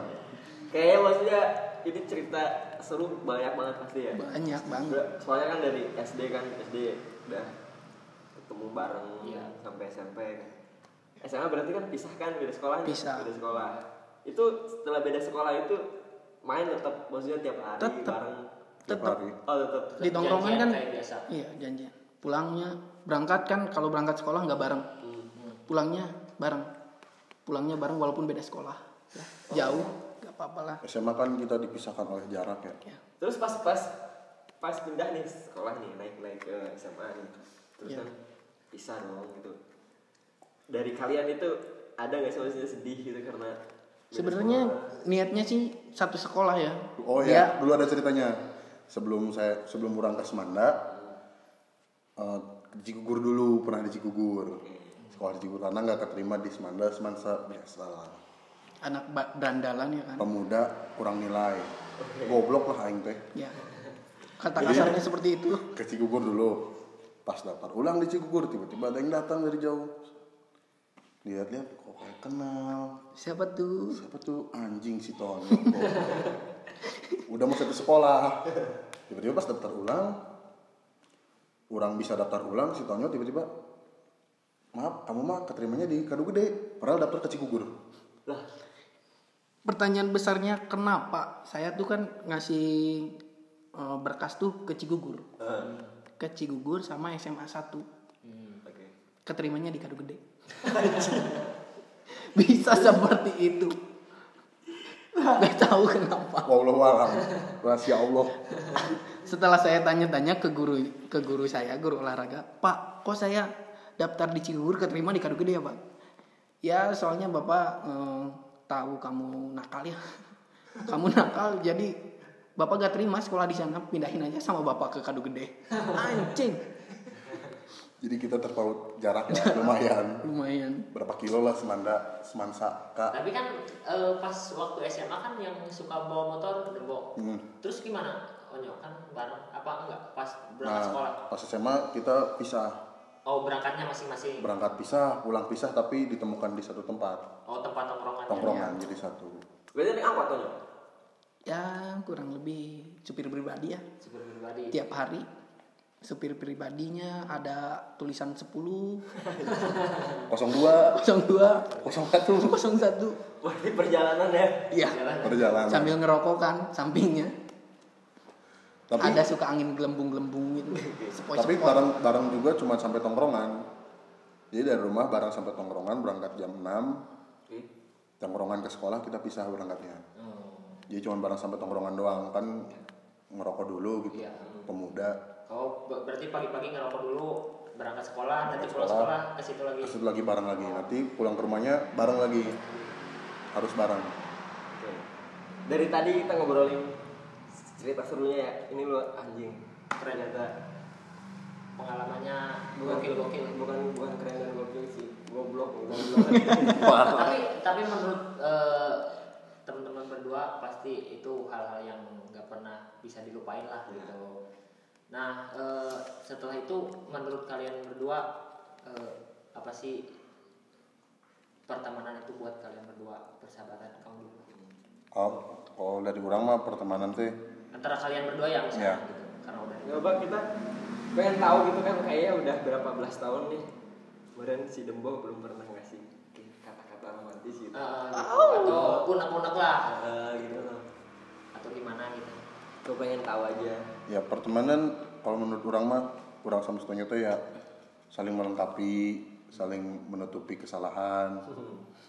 Speaker 1: Kayaknya maksudnya ini cerita seru banyak banget pasti ya.
Speaker 4: Banyak banget.
Speaker 1: Ber- Soalnya kan dari SD kan SD udah ketemu bareng
Speaker 2: Iya.
Speaker 1: sampai SMP. kan. SMA berarti kan pisah kan beda sekolah. nih,
Speaker 4: Pisah.
Speaker 1: Beda sekolah. Itu setelah beda sekolah itu main tetap maksudnya tiap hari
Speaker 4: Tetep.
Speaker 1: bareng.
Speaker 3: tiap
Speaker 4: Tetap
Speaker 3: hari
Speaker 1: Oh tetap.
Speaker 4: di tongkrongan
Speaker 2: Janjian
Speaker 4: kan
Speaker 2: kayak biasa.
Speaker 4: iya janjian. Pulangnya berangkat kan kalau berangkat sekolah nggak bareng. Pulangnya bareng. Pulangnya bareng walaupun beda sekolah. Ya, jauh nggak apa-apa lah.
Speaker 3: SMA kan kita dipisahkan oleh jarak ya
Speaker 4: Ya.
Speaker 1: Terus pas pas pas pindah nih sekolah nih naik naik ke SMA nih. Terus
Speaker 4: Iya.
Speaker 1: kan pisah dong gitu. Dari kalian itu ada nggak sih maksudnya sedih gitu karena beda
Speaker 4: Sebenarnya
Speaker 1: sekolah?
Speaker 4: niatnya sih satu sekolah ya.
Speaker 3: oh
Speaker 4: Ya,
Speaker 3: ya dulu ada ceritanya sebelum saya sebelum orang ke Semanda eh, di Cikugur dulu pernah di Cikugur sekolah di Cikugur karena nggak keterima di Semanda Semansa biasa lah
Speaker 4: anak ba- berandalan ya kan.
Speaker 3: pemuda kurang nilai goblok lah aing teh
Speaker 4: Ya. Kata
Speaker 3: Jadi-
Speaker 4: kasarnya seperti itu.
Speaker 3: ke Cigugur dulu pas daftar ulang di Cigugur tiba-tiba ada yang datang dari jauh lihat-lihat kok kayak kenal
Speaker 4: Siapa tuh?
Speaker 3: siapa tuh anjing si Tono udah mau satu sekolah tiba-tiba pas daftar ulang orang bisa daftar ulang si Tono tiba-tiba maaf kamu mah keterimanya di kado gede padahal daftar ke Cigugur
Speaker 1: lah
Speaker 4: Pertanyaan besarnya kenapa? Saya tuh kan ngasih eh, berkas tuh ke Cigugur.
Speaker 1: eh,
Speaker 4: Ke Cigugur sama SMA 1.
Speaker 1: oke.
Speaker 4: Keterimanya di kado
Speaker 3: [LAUGHS]
Speaker 4: gede. Bisa seperti itu. Gak tahu kenapa.
Speaker 3: wallahu alam rahasia Allah
Speaker 4: Setelah saya tanya-tanya ke guru ke guru saya, guru olahraga, Pak, kok saya daftar di Cigugur keterima di kado gede ya Pak? Ya soalnya Bapak eh, tahu kamu nakal ya, [LAUGHS] kamu nakal jadi Bapak gak terima sekolah di sana pindahin aja sama Bapak ke kado gede. Anjing,
Speaker 3: jadi kita terpaut jaraknya lumayan
Speaker 4: lumayan.
Speaker 3: berapa kilo lah semanda semansa kak
Speaker 2: Tapi kan eh, pas waktu SMA kan yang suka bawa motor debo.
Speaker 3: Hmm.
Speaker 2: Terus gimana? Onyo kan bareng apa enggak? Pas berangkat sekolah.
Speaker 3: Nah, pas SMA kita pisah,
Speaker 2: Oh, berangkatnya masing-masing.
Speaker 3: berangkat pisah, pulang pisah tapi ditemukan di satu tempat,
Speaker 2: Oh, tempat tongkrongan.
Speaker 3: tongkrongan
Speaker 2: Iya.
Speaker 3: jadi satu.
Speaker 1: Berarti naik angkot tuh?
Speaker 4: Ya kurang lebih supir pribadi ya.
Speaker 2: Super
Speaker 3: Iya.
Speaker 2: pribadi.
Speaker 4: Tiap hari supir pribadinya ada tulisan 10,
Speaker 3: 02, 01
Speaker 4: 02, 01.
Speaker 1: Berarti perjalanan ya.
Speaker 4: Ya.
Speaker 2: Jalan.
Speaker 3: perjalanan.
Speaker 4: sambil ngerokok kan sampingnya
Speaker 3: tapi
Speaker 4: ada suka angin gelembung-gelembung gitu
Speaker 3: tapi
Speaker 4: sepoi-sepoi
Speaker 3: bareng bareng juga cuma sampai tongkrongan. Jadi dari rumah bareng sampai tongkrongan berangkat jam 6
Speaker 1: Oke.
Speaker 3: tongkrongan ke sekolah kita pisah berangkatnya.
Speaker 2: Oh.
Speaker 3: Jadi cuma bareng sampai tongkrongan doang kan ngerokok dulu gitu.
Speaker 2: Iya.
Speaker 3: Pemuda
Speaker 2: Oh, ber- berarti pagi-pagi ngerokok dulu, berangkat sekolah,
Speaker 3: Berangkat
Speaker 2: nanti pulang
Speaker 3: sekolah.
Speaker 2: sekolah, ke situ lagi.
Speaker 3: terus itu lagi bareng lagi nanti pulang ke rumahnya bareng lagi harus bareng
Speaker 1: Oke. Dari tadi kita ngobrolin cerita serunya ya. Ini lu anjing. Keren ternyata.
Speaker 2: Pengalamannya
Speaker 1: Bukan
Speaker 2: gokil-gokil.
Speaker 1: Bukan bukan keren dan gokil sih. Goblok. goblok.
Speaker 2: tapi tapi menurut eh, teman-teman berdua pasti itu hal-hal yang nggak pernah bisa dilupain
Speaker 3: Iya.
Speaker 2: lah gitu. Nah eh, setelah itu menurut kalian berdua eh, apa sih pertemanan itu buat kalian berdua persahabatan kamu dulu?
Speaker 3: Oh, kalau dari orang mah pertemanan teh
Speaker 2: antara kalian berdua yang misalnya
Speaker 3: Iya.
Speaker 2: gitu karena udah
Speaker 1: Coba Ya, kita pengen tahu gitu kan kayaknya udah berapa belas tahun nih. Kemudian si Dembo belum pernah ngasih kata-kata romantis gitu.
Speaker 3: Oh.
Speaker 2: Eh, gitu. atau unek-unek lah
Speaker 1: Eh, gitu loh.
Speaker 2: atau gimana gitu.
Speaker 1: Gue pengen tahu aja.
Speaker 3: ya pertemanan kalau menurut orang mah kurang sama setunya teh ya saling melengkapi saling menutupi kesalahan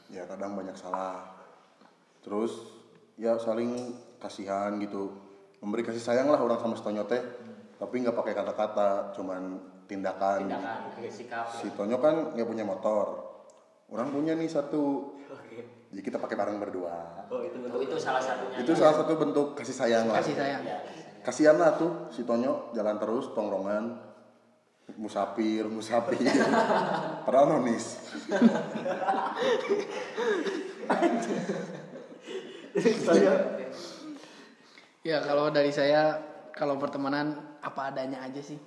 Speaker 3: ya kadang banyak salah terus ya saling kasihan gitu memberi kasih sayang lah orang sama si Tonyo teh tapi nggak pakai kata-kata cuman tindakan,
Speaker 2: tindakan sikap
Speaker 3: si
Speaker 2: gitu.
Speaker 3: Tonyo kan nggak punya motor orang punya nih satu
Speaker 1: Oke.
Speaker 3: jadi kita pakai bareng berdua
Speaker 1: Oh itu
Speaker 2: itu,
Speaker 1: bentuk
Speaker 2: itu salah satunya
Speaker 3: itu salah satu bentuk kasih sayang lah
Speaker 4: kasih sayang
Speaker 2: Ya.
Speaker 3: kasihan lah tuh si Tonyo jalan terus tongrongan musafir musafir padahal nonis
Speaker 4: ya kalau dari saya kalau pertemanan apa adanya aja sih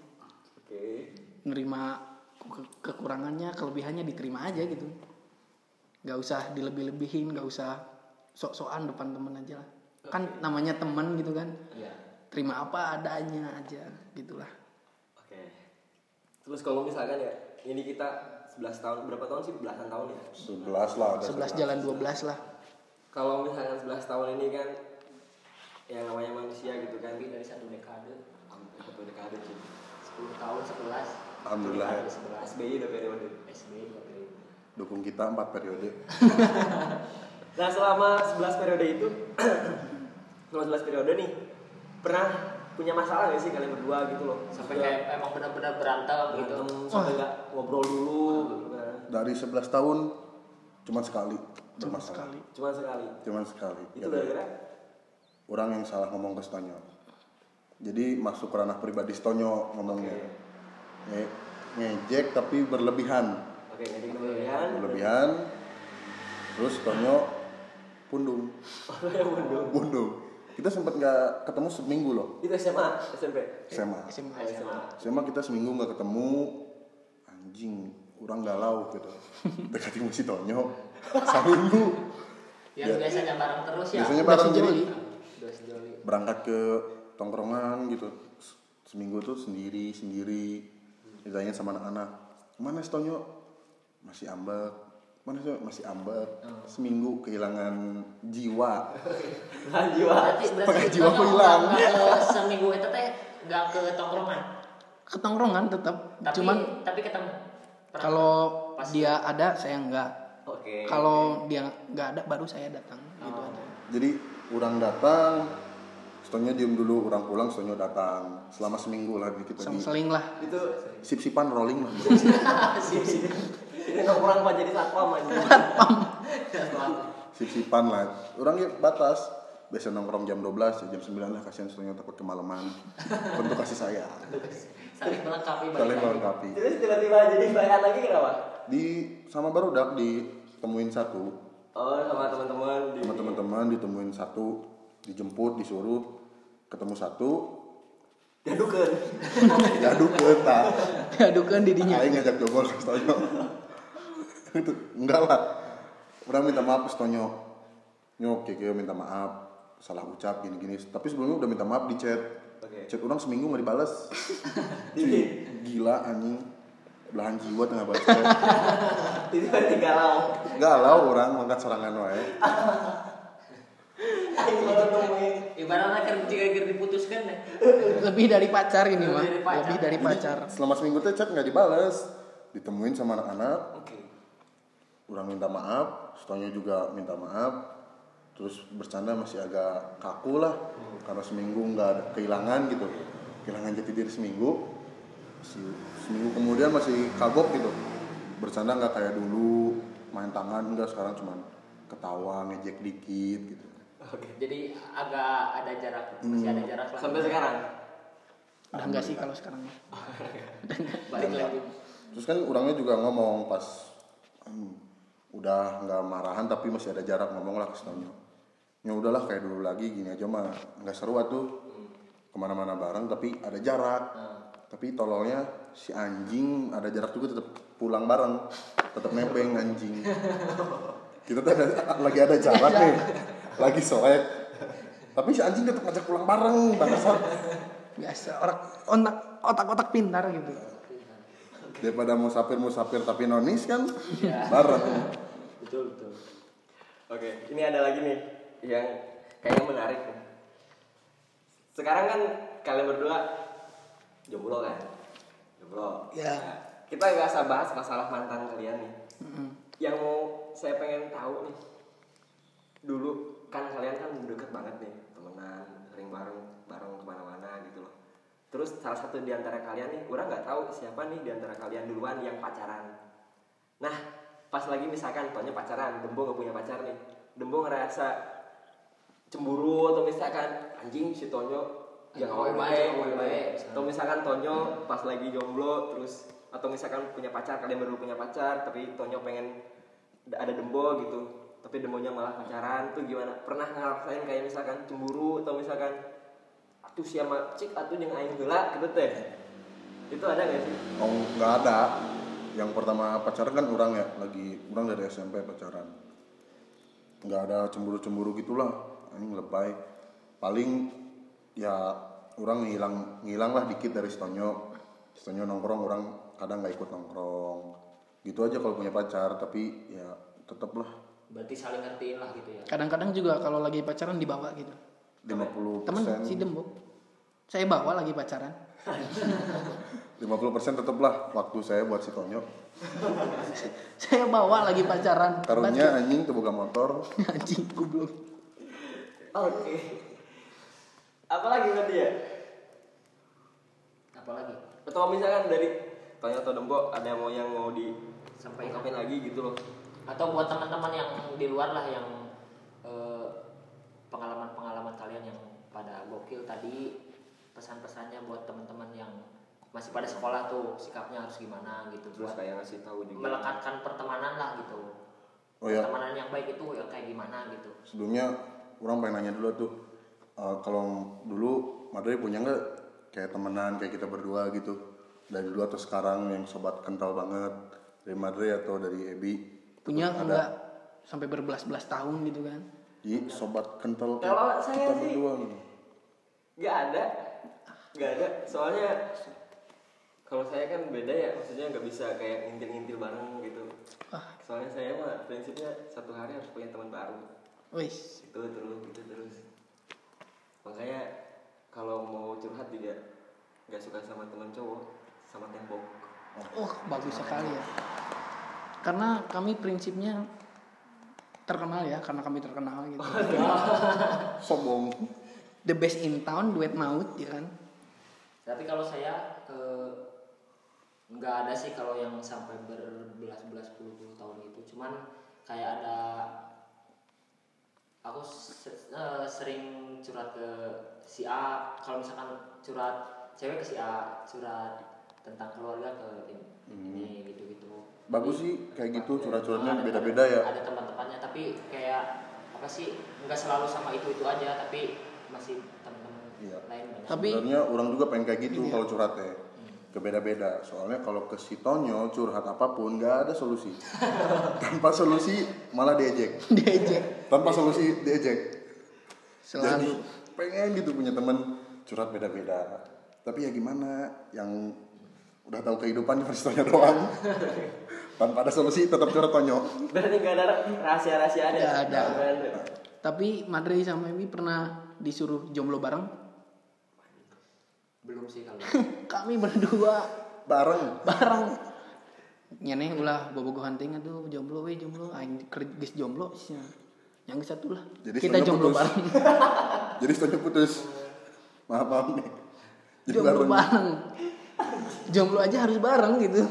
Speaker 1: Oke.
Speaker 4: nerima ke- kekurangannya kelebihannya diterima aja gitu nggak usah dilebih-lebihin nggak usah sok-sokan depan temen aja lah kan namanya teman gitu kan
Speaker 2: Iya.
Speaker 4: terima apa adanya aja gitulah
Speaker 1: Oke. Terus kalau misalkan ya ini kita 11 tahun berapa tahun sih belasan tahun ya?
Speaker 3: 11 lah ada
Speaker 4: 11
Speaker 3: 11.
Speaker 4: jalan 12 lah
Speaker 1: Kalau misalkan 11 tahun ini kan yang namanya manusia gitu kan
Speaker 2: lebih dari satu dekade
Speaker 1: hampir satu dekade cuy.
Speaker 2: 10 tahun 11
Speaker 3: Alhamdulillah.
Speaker 2: Dekade 11
Speaker 1: SBY udah periode.
Speaker 2: SBY dua periode.
Speaker 3: dukung kita empat periode
Speaker 1: Nah selama 11 periode itu [CLEARS THROAT] selama 11 periode nih pernah punya masalah gak sih kalian berdua gitu loh
Speaker 2: sampai kayak emang benar-benar berantem gitu
Speaker 1: berantem sampai nggak ngobrol dulu gitu kan.
Speaker 3: dari 11 tahun cuman sekali bermasalah
Speaker 4: sekali
Speaker 1: Cuman sekali.
Speaker 3: cuman sekali
Speaker 1: Itu
Speaker 3: Jadi,
Speaker 1: gara-gara
Speaker 3: orang yang salah ngomong ke Stonyo jadi masuk ke ranah pribadi Stonyo ngomongnya Nge- ngejek tapi berlebihan
Speaker 1: Oke, jadi kemudian [LAUGHS]
Speaker 3: berlebihan terus Tonyo pundung pundung kita sempat nggak ketemu seminggu loh
Speaker 1: itu SMA, SMP.
Speaker 3: SMA
Speaker 4: SMA
Speaker 2: Iya.
Speaker 1: SMA.
Speaker 3: SMA kita seminggu nggak ketemu anjing orang galau gitu deketin si Tonyo seminggu
Speaker 2: yang biasanya bareng terus ya
Speaker 3: biasanya
Speaker 4: udah
Speaker 3: bareng jadi
Speaker 4: sejoli.
Speaker 2: dua sejoli
Speaker 3: berangkat ke tongkrongan gitu S- seminggu tuh sendiri sendiri ditanya sama anak-anak mana si Tonyo masih ambek mana sih masih ambek seminggu kehilangan jiwa
Speaker 1: Nah, jiwa.
Speaker 2: berarti berarti
Speaker 3: Setengah jiwa
Speaker 2: Tonyo
Speaker 3: hilang.
Speaker 2: nggak ke seminggu itu teh nggak ke tongkrongan
Speaker 4: ketongkrongan tetap
Speaker 2: tapi
Speaker 4: cuman
Speaker 2: tapi ketemu Pernah.
Speaker 4: kalau
Speaker 2: Pas-
Speaker 4: dia ada saya enggak
Speaker 1: Oke.
Speaker 4: kalau dia nggak ada baru saya datang
Speaker 2: Oh,
Speaker 4: gitu aja
Speaker 3: jadi orang datang si Tonyo diem dulu orang pulang si Tonyo datang selama seminggu lah kita di
Speaker 4: sama seling lah [LAUGHS]
Speaker 1: itu [LAUGHS]
Speaker 3: sip-sipan rolling lah
Speaker 1: ini nongkrong pak jadi satpam aja.
Speaker 3: sip-sipan lah orang ya batas biasa nongkrong jam 12 ya jam 9 lah kasihan Tonyo takut kemalaman bentuk kasih sayang
Speaker 2: saling melengkapi balik
Speaker 3: saling
Speaker 2: lagi.
Speaker 3: melengkapi
Speaker 1: Terus tiba-tiba jadi bayan lagi kenapa?
Speaker 3: di sama barudak ditemuin satu
Speaker 1: Oh, sama teman-teman di
Speaker 3: sama teman-teman ditemuin satu dijemput disuruh ketemu satu ya,
Speaker 1: Jadukeun.
Speaker 3: jaduk kita
Speaker 4: adukan kan
Speaker 2: [LAUGHS]
Speaker 4: didinya
Speaker 3: Aing ngajak [LAUGHS] jogol ke Stonyo Itu, enggak lah orang minta maaf ke Stonyo nyok keke minta maaf salah ucap gini-gini tapi sebelumnya udah minta maaf di chat
Speaker 1: Oke.
Speaker 3: chat orang seminggu nggak dibales
Speaker 1: Jadi-
Speaker 3: Cuy, gila anjing belahan jiwa tengah balas chat
Speaker 1: Tiba-tiba galau.
Speaker 3: galau orang mangkat serangan wae
Speaker 1: Ayo baru nemuin.
Speaker 2: ibaratnya kan jika jika diputuskan deh
Speaker 4: lebih dari pacar ini
Speaker 2: Lebih
Speaker 4: mah
Speaker 2: dari pacar.
Speaker 4: lebih dari
Speaker 2: [LAUGHS]
Speaker 4: pacar
Speaker 3: selama seminggu teh chat nggak dibales ditemuin sama anak-anak
Speaker 1: Oke.
Speaker 3: orang minta maaf Stonyo juga minta maaf terus bercanda masih agak kaku lah karena seminggu nggak ada kehilangan gitu kehilangan jati diri seminggu Si- seminggu kemudian masih kagok gitu bercanda nggak kayak dulu main tangan enggak sekarang cuman ketawa ngejek dikit gitu
Speaker 1: Oke.
Speaker 2: jadi agak ada jarak masih ada jarak lah
Speaker 1: Sampai sekarang.
Speaker 4: udah enggak sih kalau sekarang mah.
Speaker 2: balik lagi
Speaker 3: terus kan orangnya juga ngomong pas "Hmm, udah nggak marahan tapi masih ada jarak ngomong lah ke si Tonyo ya udahlah kayak dulu lagi gini aja mah nggak seru tuh kemana-mana bareng tapi ada jarak tapi tololnya si anjing ada jarak juga tetap pulang bareng tetap nebeng anjing kita tuh ada- lagi ada jarak nih lagi soek tapi si anjing tetap ngajak pulang bareng bangsat
Speaker 4: biasa orang otak otak otak pintar gitu
Speaker 3: daripada musafir musafir tapi nonis kan bareng
Speaker 2: betul betul
Speaker 1: Oke. Ini ada lagi nih yang kayaknya menarik. nih. Sekarang kan kalian berdua jomblo kan? Jomblo.
Speaker 4: Ya.
Speaker 1: Nah, kita nggak usah bahas masalah mantan kalian nih yang mau saya pengen tahu nih dulu kan kalian kan deket banget nih temenan sering bareng bareng kemana-mana gitu loh terus salah satu di antara kalian nih kurang nggak tahu siapa nih di antara kalian duluan yang pacaran nah pas lagi misalkan taunya pacaran dembo nggak punya pacar nih dembo ngerasa cemburu atau misalkan anjing si Tonyo yang
Speaker 2: Ayo,
Speaker 1: awal
Speaker 2: baik,
Speaker 1: baik,
Speaker 2: awal baik.
Speaker 1: atau misalkan Tonyo pas lagi jomblo terus atau misalkan punya pacar kalian baru punya pacar tapi Tonyo pengen ada dembo gitu tapi dembonya malah pacaran tuh gimana pernah ngerasain kayak misalkan cemburu atau misalkan atuh siapa cik atuh yang aing heula gitu teh itu ada nggak sih
Speaker 3: Oh, nggak ada. Yang pertama pacaran kan orang ya, lagi orang dari SMP pacaran. Nggak ada cemburu-cemburu gitulah. Ini lebay. Paling ya orang ngilang ngilang lah dikit dari Stonyo. Stonyo nongkrong orang kadang nggak ikut nongkrong. Gitu aja kalau punya pacar, tapi ya tetep lah
Speaker 2: berarti saling ngertiin lah gitu ya
Speaker 4: Kadang-kadang juga kalau lagi pacaran dibawa gitu.
Speaker 3: 50
Speaker 4: Temen si Dembo. Saya bawa lagi pacaran. [LAUGHS]
Speaker 3: 50 tetep lah waktu saya buat si Tonyo.
Speaker 4: Saya bawa lagi pacaran.
Speaker 3: Karunya anjing tuh buka motor.
Speaker 4: Batu. [LAUGHS] anjing goblok.
Speaker 1: oke apalagi tadi ya
Speaker 2: apalagi
Speaker 1: atau misalkan dari Tonyo atau dembo ada mau yang mau di
Speaker 2: Sampaikan.
Speaker 1: ungkapin lagi gitu loh
Speaker 2: atau buat teman-teman yang di luar lah yang eh, pengalaman-pengalaman kalian yang pada gokil tadi pesan-pesannya buat teman-teman yang masih pada sekolah tuh sikapnya harus gimana gitu
Speaker 1: terus
Speaker 2: buat
Speaker 1: kayak ngasih tahu juga
Speaker 2: melekatkan pertemanan lah gitu
Speaker 3: Oh ya,
Speaker 2: pertemanan yang baik itu yang kayak gimana gitu
Speaker 3: sebelumnya orang pengen nanya dulu tuh eh, kalau dulu Madri punya nggak kayak temenan kayak kita berdua gitu dari dulu atau sekarang yang sobat kental banget dari Madri atau dari Ebi
Speaker 4: Punya
Speaker 3: Ada.
Speaker 4: enggak sampai berbelas-belas tahun gitu kan.
Speaker 3: jadi sobat kental kayak
Speaker 1: Kalau saya
Speaker 3: kita
Speaker 1: sih-
Speaker 3: berdua gitu
Speaker 1: nggak ada nggak ada soalnya kalau saya kan beda ya maksudnya nggak bisa kayak ngintil-ngintil bareng gitu
Speaker 4: Ah.
Speaker 1: soalnya saya mah prinsipnya satu hari harus punya teman baru
Speaker 4: Wis.
Speaker 1: itu terus gitu terus makanya kalau mau curhat juga nggak suka sama teman cowok sama tembok
Speaker 4: Oh, bagus sekali ya. Karena kami prinsipnya terkenal ya, karena kami terkenal gitu.
Speaker 3: sombong
Speaker 4: The best in town, duet maut ya kan.
Speaker 2: tapi kalau saya eh, nggak ada sih kalau yang sampai berbelas-belas puluh-puluh tahun itu cuman kayak ada aku se- eh, sering curhat ke si A kalau misalkan curhat cewek ke si A curhat tentang keluarga ke tim ini gitu-gitu
Speaker 3: Hmm. bagus sih kayak gitu curhat-curhatnya
Speaker 2: Ada-
Speaker 3: beda-beda ya
Speaker 2: ada teman-temannya tapi kayak apa sih nggak selalu sama itu itu aja tapi masih teman-teman
Speaker 3: Iya.
Speaker 2: lain banyak
Speaker 4: Tapi- [LAUGHS]
Speaker 3: sebenarnya orang juga pengen kayak gitu kalau curhatnya kebeda-beda soalnya kalau ke si Tonyo curhat apapun nggak ada solusi tanpa solusi malah diejek
Speaker 4: Diajak
Speaker 3: tanpa solusi diejek jadi
Speaker 4: selalu.
Speaker 3: pengen gitu punya temen curhat beda-beda tapi ya gimana yang udah tahu kehidupan versi Tonyo doang
Speaker 4: [LAUGHS]
Speaker 3: tanpa ada solusi tetap curhat Tonyo
Speaker 1: berarti nggak ada rahasia-rahasia ada ya?
Speaker 4: Nggak ada.
Speaker 1: Nggak ada.
Speaker 4: Tapi Madre sama Ebi pernah disuruh jomblo bareng. [LAUGHS]
Speaker 2: belum sih kalau
Speaker 4: Kami berdua
Speaker 3: bareng
Speaker 4: bareng. Nyane ulah bobogoh hunting atuh jomblo we jomblo aing ker- geus jomblo sia. Yang geus satu lah.
Speaker 3: Jadi
Speaker 4: Kita
Speaker 3: sebenarnya
Speaker 4: jomblo
Speaker 3: putus.
Speaker 4: bareng.
Speaker 3: jadi Tonyo putus maaf maaf nih jadi
Speaker 4: jomblo
Speaker 3: bareng
Speaker 4: bareng. jomblo aja harus bareng gitu.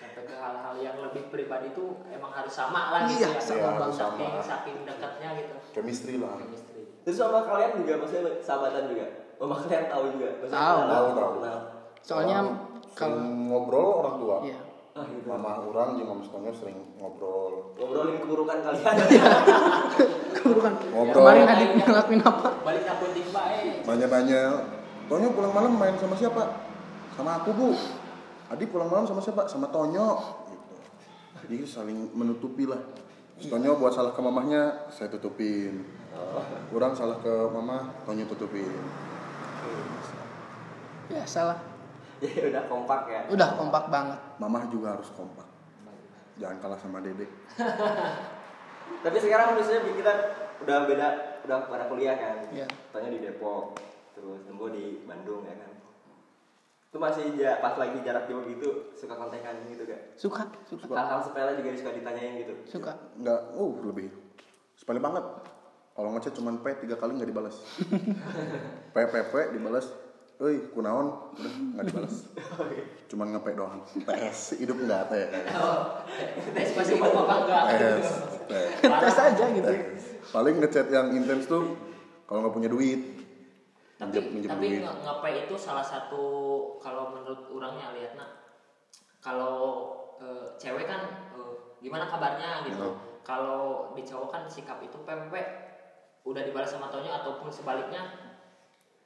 Speaker 2: sampai ke hal-hal yang lebih pribadi itu emang harus sama lah gitu
Speaker 4: Iya,
Speaker 2: ya
Speaker 4: sama
Speaker 3: Iya, banget.
Speaker 2: saking
Speaker 3: sama.
Speaker 2: saking dekatnya gitu
Speaker 3: chemistry lah
Speaker 2: chemistry
Speaker 1: terus sama kalian juga maksudnya sahabatan juga sama kalian tahu juga maksudnya
Speaker 4: Tahu.
Speaker 1: kenal,
Speaker 3: Tahu, tahu.
Speaker 1: kenal.
Speaker 4: Soalnya
Speaker 3: Orang
Speaker 4: kalau
Speaker 3: sering ngobrol orang tua
Speaker 4: Iya.
Speaker 1: Ah, gitu.
Speaker 3: mama orang jeung mama si Tonyo sering ngobrol
Speaker 1: ngobrolin keburukan
Speaker 4: [LAUGHS]
Speaker 1: kalian [LAUGHS]
Speaker 4: keburukan.
Speaker 3: Ngobrol.
Speaker 4: Iya. Kemarin adik ngelakuin apa?
Speaker 2: balik aku timba eh [LAUGHS]
Speaker 3: nanya-nanya Tonyo pulang malam main sama siapa sama aku bu Adi pulang malam sama siapa sama Tonyo gitu. jadi saling menutupi lah Si Tonyo buat salah ke mamahnya saya tutupin kurang salah ke mama Tonyo tutupin
Speaker 4: Ya salah.
Speaker 1: jadi udah kompak ya
Speaker 4: Udah kompak banget.
Speaker 3: mamah juga harus kompak jangan kalah sama dede
Speaker 1: tapi sekarang misalnya kita udah beda udah pada kuliah kan
Speaker 4: Iya.
Speaker 1: tanya di Depok terus Dembo di Bandung ya kan itu masih ja- pas lagi jarak jauh gitu suka kontekan gitu gak
Speaker 4: Suka, suka,
Speaker 1: hal-hal sepele juga suka ditanyain gitu
Speaker 4: suka.
Speaker 3: nggak uh lebih sepele banget kalau ngechat cuman p tiga kali nggak
Speaker 4: [LAUGHS]
Speaker 3: dibalas p p p dibalas Woi, kunaon udah nggak dibalas. Cuman ngepe doang. PS hidup nggak teh.
Speaker 2: tes pasti mau apa enggak
Speaker 3: PS.
Speaker 4: Iya.
Speaker 3: PS.
Speaker 4: Tes aja gitu. ya.
Speaker 3: PS. Paling ngechat yang intens tuh kalau nggak punya duit.
Speaker 2: tapi
Speaker 3: Minjem- minjem
Speaker 2: tapi nge- ngepe itu salah satu kalau menurut orangnya lihatnya kalau eh, cewek kan eh, gimana kabarnya gitu
Speaker 3: Hmm.
Speaker 2: kalau di cowok kan sikap itu PPP udah dibalas sama Tonyo ataupun sebaliknya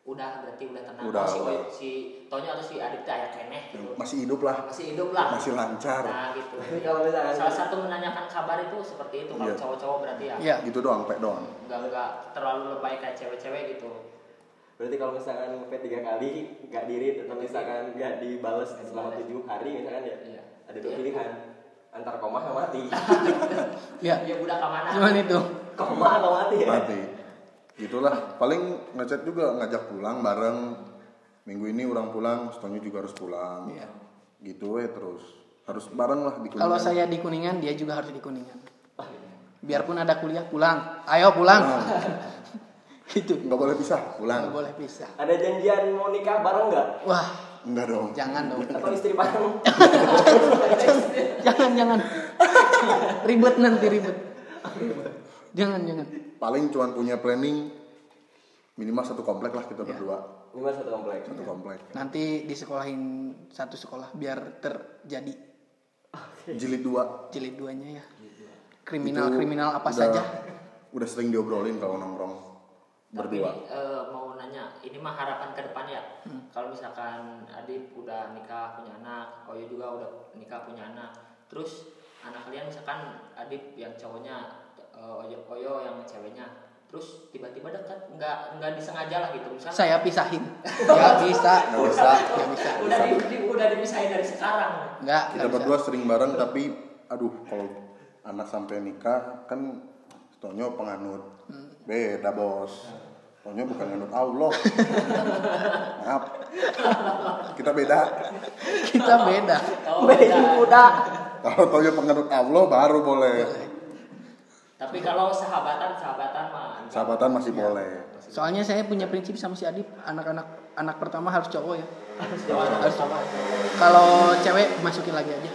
Speaker 2: udah berarti udah tenang
Speaker 3: Udah,
Speaker 2: Oh, si,
Speaker 3: udah.
Speaker 2: si Tonyo atau si Adit teh aya keneh gitu
Speaker 3: Masih hidup lah,
Speaker 2: masih hidup lah
Speaker 3: masih lancar.
Speaker 2: nah gitu
Speaker 1: tapi kalau misalkan
Speaker 2: salah satu menanyakan kabar itu seperti itu kalau
Speaker 3: Iya.
Speaker 2: cowok-cowok berarti ya
Speaker 4: Iya.
Speaker 3: Gitu doang, p doang.
Speaker 2: nggak nggak terlalu lebay kayak cewek-cewek gitu
Speaker 1: berarti kalau misalkan ngepe tiga kali nggak dirit atau misalkan nggak dibales selama tujuh hari misalkan ya
Speaker 2: Iya.
Speaker 1: ada dua pilihan antar koma sama mati [LAUGHS]
Speaker 4: Iya.
Speaker 2: ya budak kemana
Speaker 4: Cuman itu.
Speaker 1: koma atau mati
Speaker 4: Iya.
Speaker 1: ya
Speaker 3: mati gitulah paling ngechat juga ngajak pulang bareng minggu ini orang pulang setelahnya juga harus pulang
Speaker 4: Iya.
Speaker 3: gitu eh terus harus bareng lah di Kuningan.
Speaker 4: Kalau saya di Kuningan, dia juga harus di Kuningan. Biarpun ada kuliah, pulang. Ayo pulang. [LAUGHS] itu.
Speaker 3: nggak boleh pisah pulang
Speaker 4: Nggak boleh pisah.
Speaker 1: ada janjian mau nikah bareng nggak
Speaker 4: Wah,
Speaker 3: enggak dong
Speaker 4: jangan dong.
Speaker 1: atau istri bareng
Speaker 4: jangan jangan. ribet nanti ribet. jangan jangan.
Speaker 3: paling cuman punya planning minimal satu komplek lah
Speaker 4: Iya.
Speaker 3: kita berdua
Speaker 1: lima satu komplek
Speaker 3: satu komplek
Speaker 4: Nah. Nanti disekolahin satu sekolah biar terjadi
Speaker 3: jilid dua
Speaker 4: jilid duanya ya.
Speaker 3: Iya, Itu
Speaker 4: Kriminal-kriminal apa
Speaker 3: udah-
Speaker 4: saja.
Speaker 3: udah sering diobrolin kalau nongkrong
Speaker 2: Tapi
Speaker 3: berdua
Speaker 2: ini, eh, mau nanya, ini mah harapan ke depan ya. Kalau misalkan Adit udah nikah punya anak, Oyo juga udah nikah punya anak. Terus anak kalian misalkan Adit yang cowoknya, eh, Oyo, Oyo yang ceweknya. Terus tiba-tiba dekat, nggak nggak disengaja lah gitu. Misalkan
Speaker 4: Saya pisahin. Ya bisa.
Speaker 3: [LAUGHS] Nggak bisa.
Speaker 4: Ya bisa.
Speaker 2: udah di, di- udah dipisahin dari sekarang.
Speaker 4: Enggak,
Speaker 3: kita berdua sering bareng tapi aduh kalau anak sampai nikah kan Tonyo penganut beda bos Tonyo bukan nganut Allah maaf kita beda
Speaker 4: Kita beda.
Speaker 2: Oh, udah.
Speaker 3: kalau Tonyo penganut Allah baru boleh
Speaker 2: Tapi kalau sahabatan sahabatan mah.
Speaker 3: sahabatan masih boleh
Speaker 4: Soalnya saya punya prinsip sama si Adip, anak-anak anak pertama harus cowok ya.
Speaker 2: Harus sama.
Speaker 4: Kalau cewek masukin lagi aja.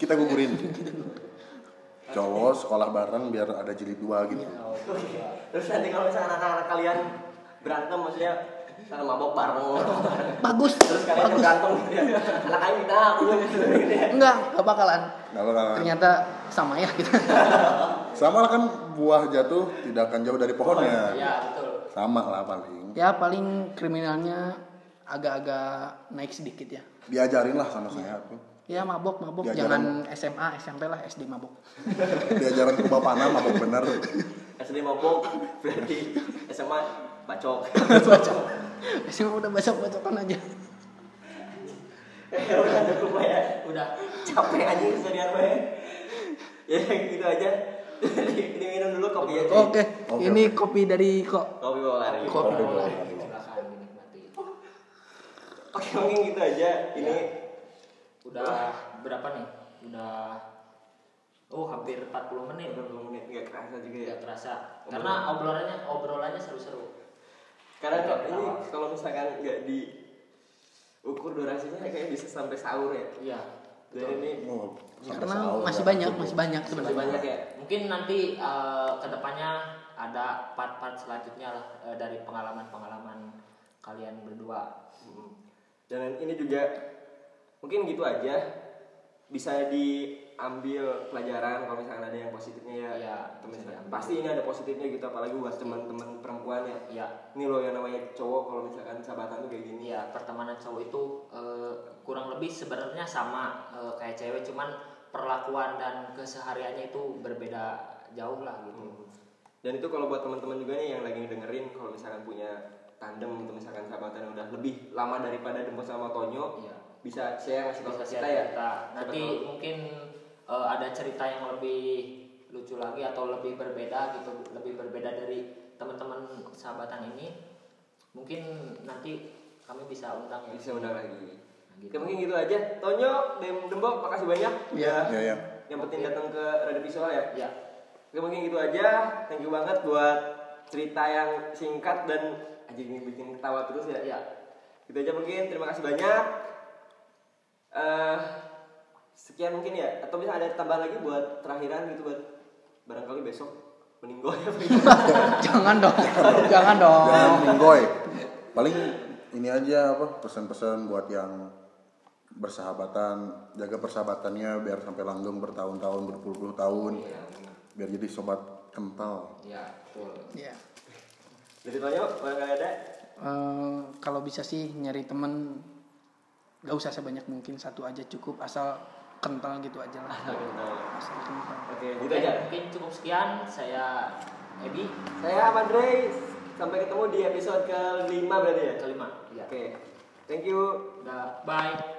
Speaker 3: kita gugurin cowok sekolah bareng biar ada jilid dua gitu
Speaker 1: terus nanti kalau misalkan anak-anak kalian berantem maksudnya misalkan mabok bareng
Speaker 4: Bagus.
Speaker 1: terus kalian yang
Speaker 4: Bagus.
Speaker 1: berantem gitu ya anak kalian minta aku gitu [LAUGHS] ya
Speaker 4: Enggak, enggak bakalan.
Speaker 3: Nggak bakal.
Speaker 4: Ternyata sama ya kita.
Speaker 3: sama lah kan buah jatuh tidak akan jauh dari pohonnya
Speaker 2: Ya betul.
Speaker 3: sama lah paling
Speaker 4: Ya paling kriminalnya agak-agak naik sedikit ya.
Speaker 3: diajarin lah sama saya tuh
Speaker 4: Ya mabok, mabok.
Speaker 3: Diajaran.
Speaker 4: Jangan SMA, SMP lah, SD mabok. [LAUGHS]
Speaker 3: diajaran ke Bapak Nam apa bener
Speaker 1: SD mabok berarti SMA bacok
Speaker 4: Bacok. SMA udah bacok-bacokan aja.
Speaker 1: ya udah cukup lah ya
Speaker 2: Udah.
Speaker 1: capek aja kesedihan gue ya gitu aja ini minum dulu kopi aja
Speaker 4: Oke,
Speaker 3: Oke,
Speaker 4: ini kopi dari kok.
Speaker 1: kopi bawa lari
Speaker 4: Kopi.
Speaker 3: Kopi
Speaker 2: Boleh,
Speaker 3: boleh.
Speaker 2: Silakan dinikmati.
Speaker 1: oke mungkin gitu aja ini
Speaker 2: Udah berapa nih? Udah Oh, hampir 40 menit.
Speaker 1: udah belum menit nggak kerasa juga ya
Speaker 2: Tidak terasa. Karena obrolannya obrolannya seru-seru.
Speaker 1: karena kalau ini kalau misalkan nggak di ukur durasinya kayaknya bisa sampai sahur ya
Speaker 2: Iya.
Speaker 1: jadi ini
Speaker 3: Oh, sampai
Speaker 4: Iya, Karena
Speaker 3: sahur
Speaker 4: masih
Speaker 3: nggak
Speaker 4: banyak,
Speaker 3: cukup.
Speaker 4: masih banyak
Speaker 1: masih
Speaker 4: sebenarnya.
Speaker 1: banyak ya
Speaker 2: Mungkin nanti eh, kedepannya ada part-part selanjutnya lah eh, dari pengalaman-pengalaman kalian berdua.
Speaker 1: Mm. Dan ini juga mungkin gitu aja bisa diambil pelajaran kalau misalkan ada yang positifnya ya.
Speaker 2: Iya,
Speaker 1: Atau
Speaker 2: bisa
Speaker 1: misalkan-
Speaker 2: diambil.
Speaker 1: pasti ini ada positifnya gitu apalagi buat teman-teman perempuan ya.
Speaker 2: Iya.
Speaker 1: Ini loh yang namanya cowok kalau misalkan sahabatan tuh kayak gini.
Speaker 2: Iya, pertemanan cowok itu eh, kurang lebih sebenarnya sama eh, kayak cewek cuman perlakuan dan kesehariannya itu berbeda jauh lah gitu.
Speaker 1: Mm. Dan itu kalau buat teman-teman juga nih yang lagi dengerin kalau misalkan punya tandem atau misalkan sahabatan yang udah lebih lama daripada Dempo sama Tonyo
Speaker 2: Iya.
Speaker 1: bisa share ngasih tahu
Speaker 2: Bisa
Speaker 1: ke
Speaker 2: share
Speaker 1: kita ya.
Speaker 2: Iya, cerita. Nanti
Speaker 1: Siapa tahu.
Speaker 2: mungkin eh, ada cerita yang lebih lucu lagi atau lebih berbeda gitu, lebih berbeda dari teman-teman sahabatan ini. Mungkin nanti kami bisa undang ya.
Speaker 1: bisa undang lagi
Speaker 2: Nah, gitu.
Speaker 1: Oke, mungkin gitu aja Tonyo dan Dembo makasih banyak
Speaker 4: Iya.
Speaker 3: ya ya
Speaker 1: yang penting datang ke Radio Visual ya
Speaker 2: Ya.
Speaker 1: Oke mungkin gitu aja thank you banget buat cerita yang singkat dan aja ini bikin ketawa terus ya
Speaker 2: Ya.
Speaker 1: gitu aja mungkin terima kasih banyak eh sekian mungkin ya atau bisa ada tambah lagi buat terakhiran gitu buat barangkali besok meninggal ya
Speaker 4: [LAUGHS] jangan dong [LAUGHS] jangan dong
Speaker 3: jangan menggoy paling ini aja apa pesan-pesan buat yang bersahabatan jaga persahabatannya biar sampai langgeng bertahun-tahun berpuluh-puluh tahun biar jadi sobat kental
Speaker 2: Ya, betul.
Speaker 4: Iya.
Speaker 1: dari Tonyo barangkali ada
Speaker 4: Eh, kalau bisa sih nyari temen gak usah sebanyak mungkin satu aja cukup asal kental gitu aja lah asal kental
Speaker 1: oke gitu
Speaker 2: Oke,
Speaker 1: aja
Speaker 2: mungkin cukup sekian. Saya Edi
Speaker 1: saya Ahmad Rey sampai ketemu di episode kelima berarti ya
Speaker 2: kelima. Ya.
Speaker 1: oke thank you
Speaker 2: Dah, Bye.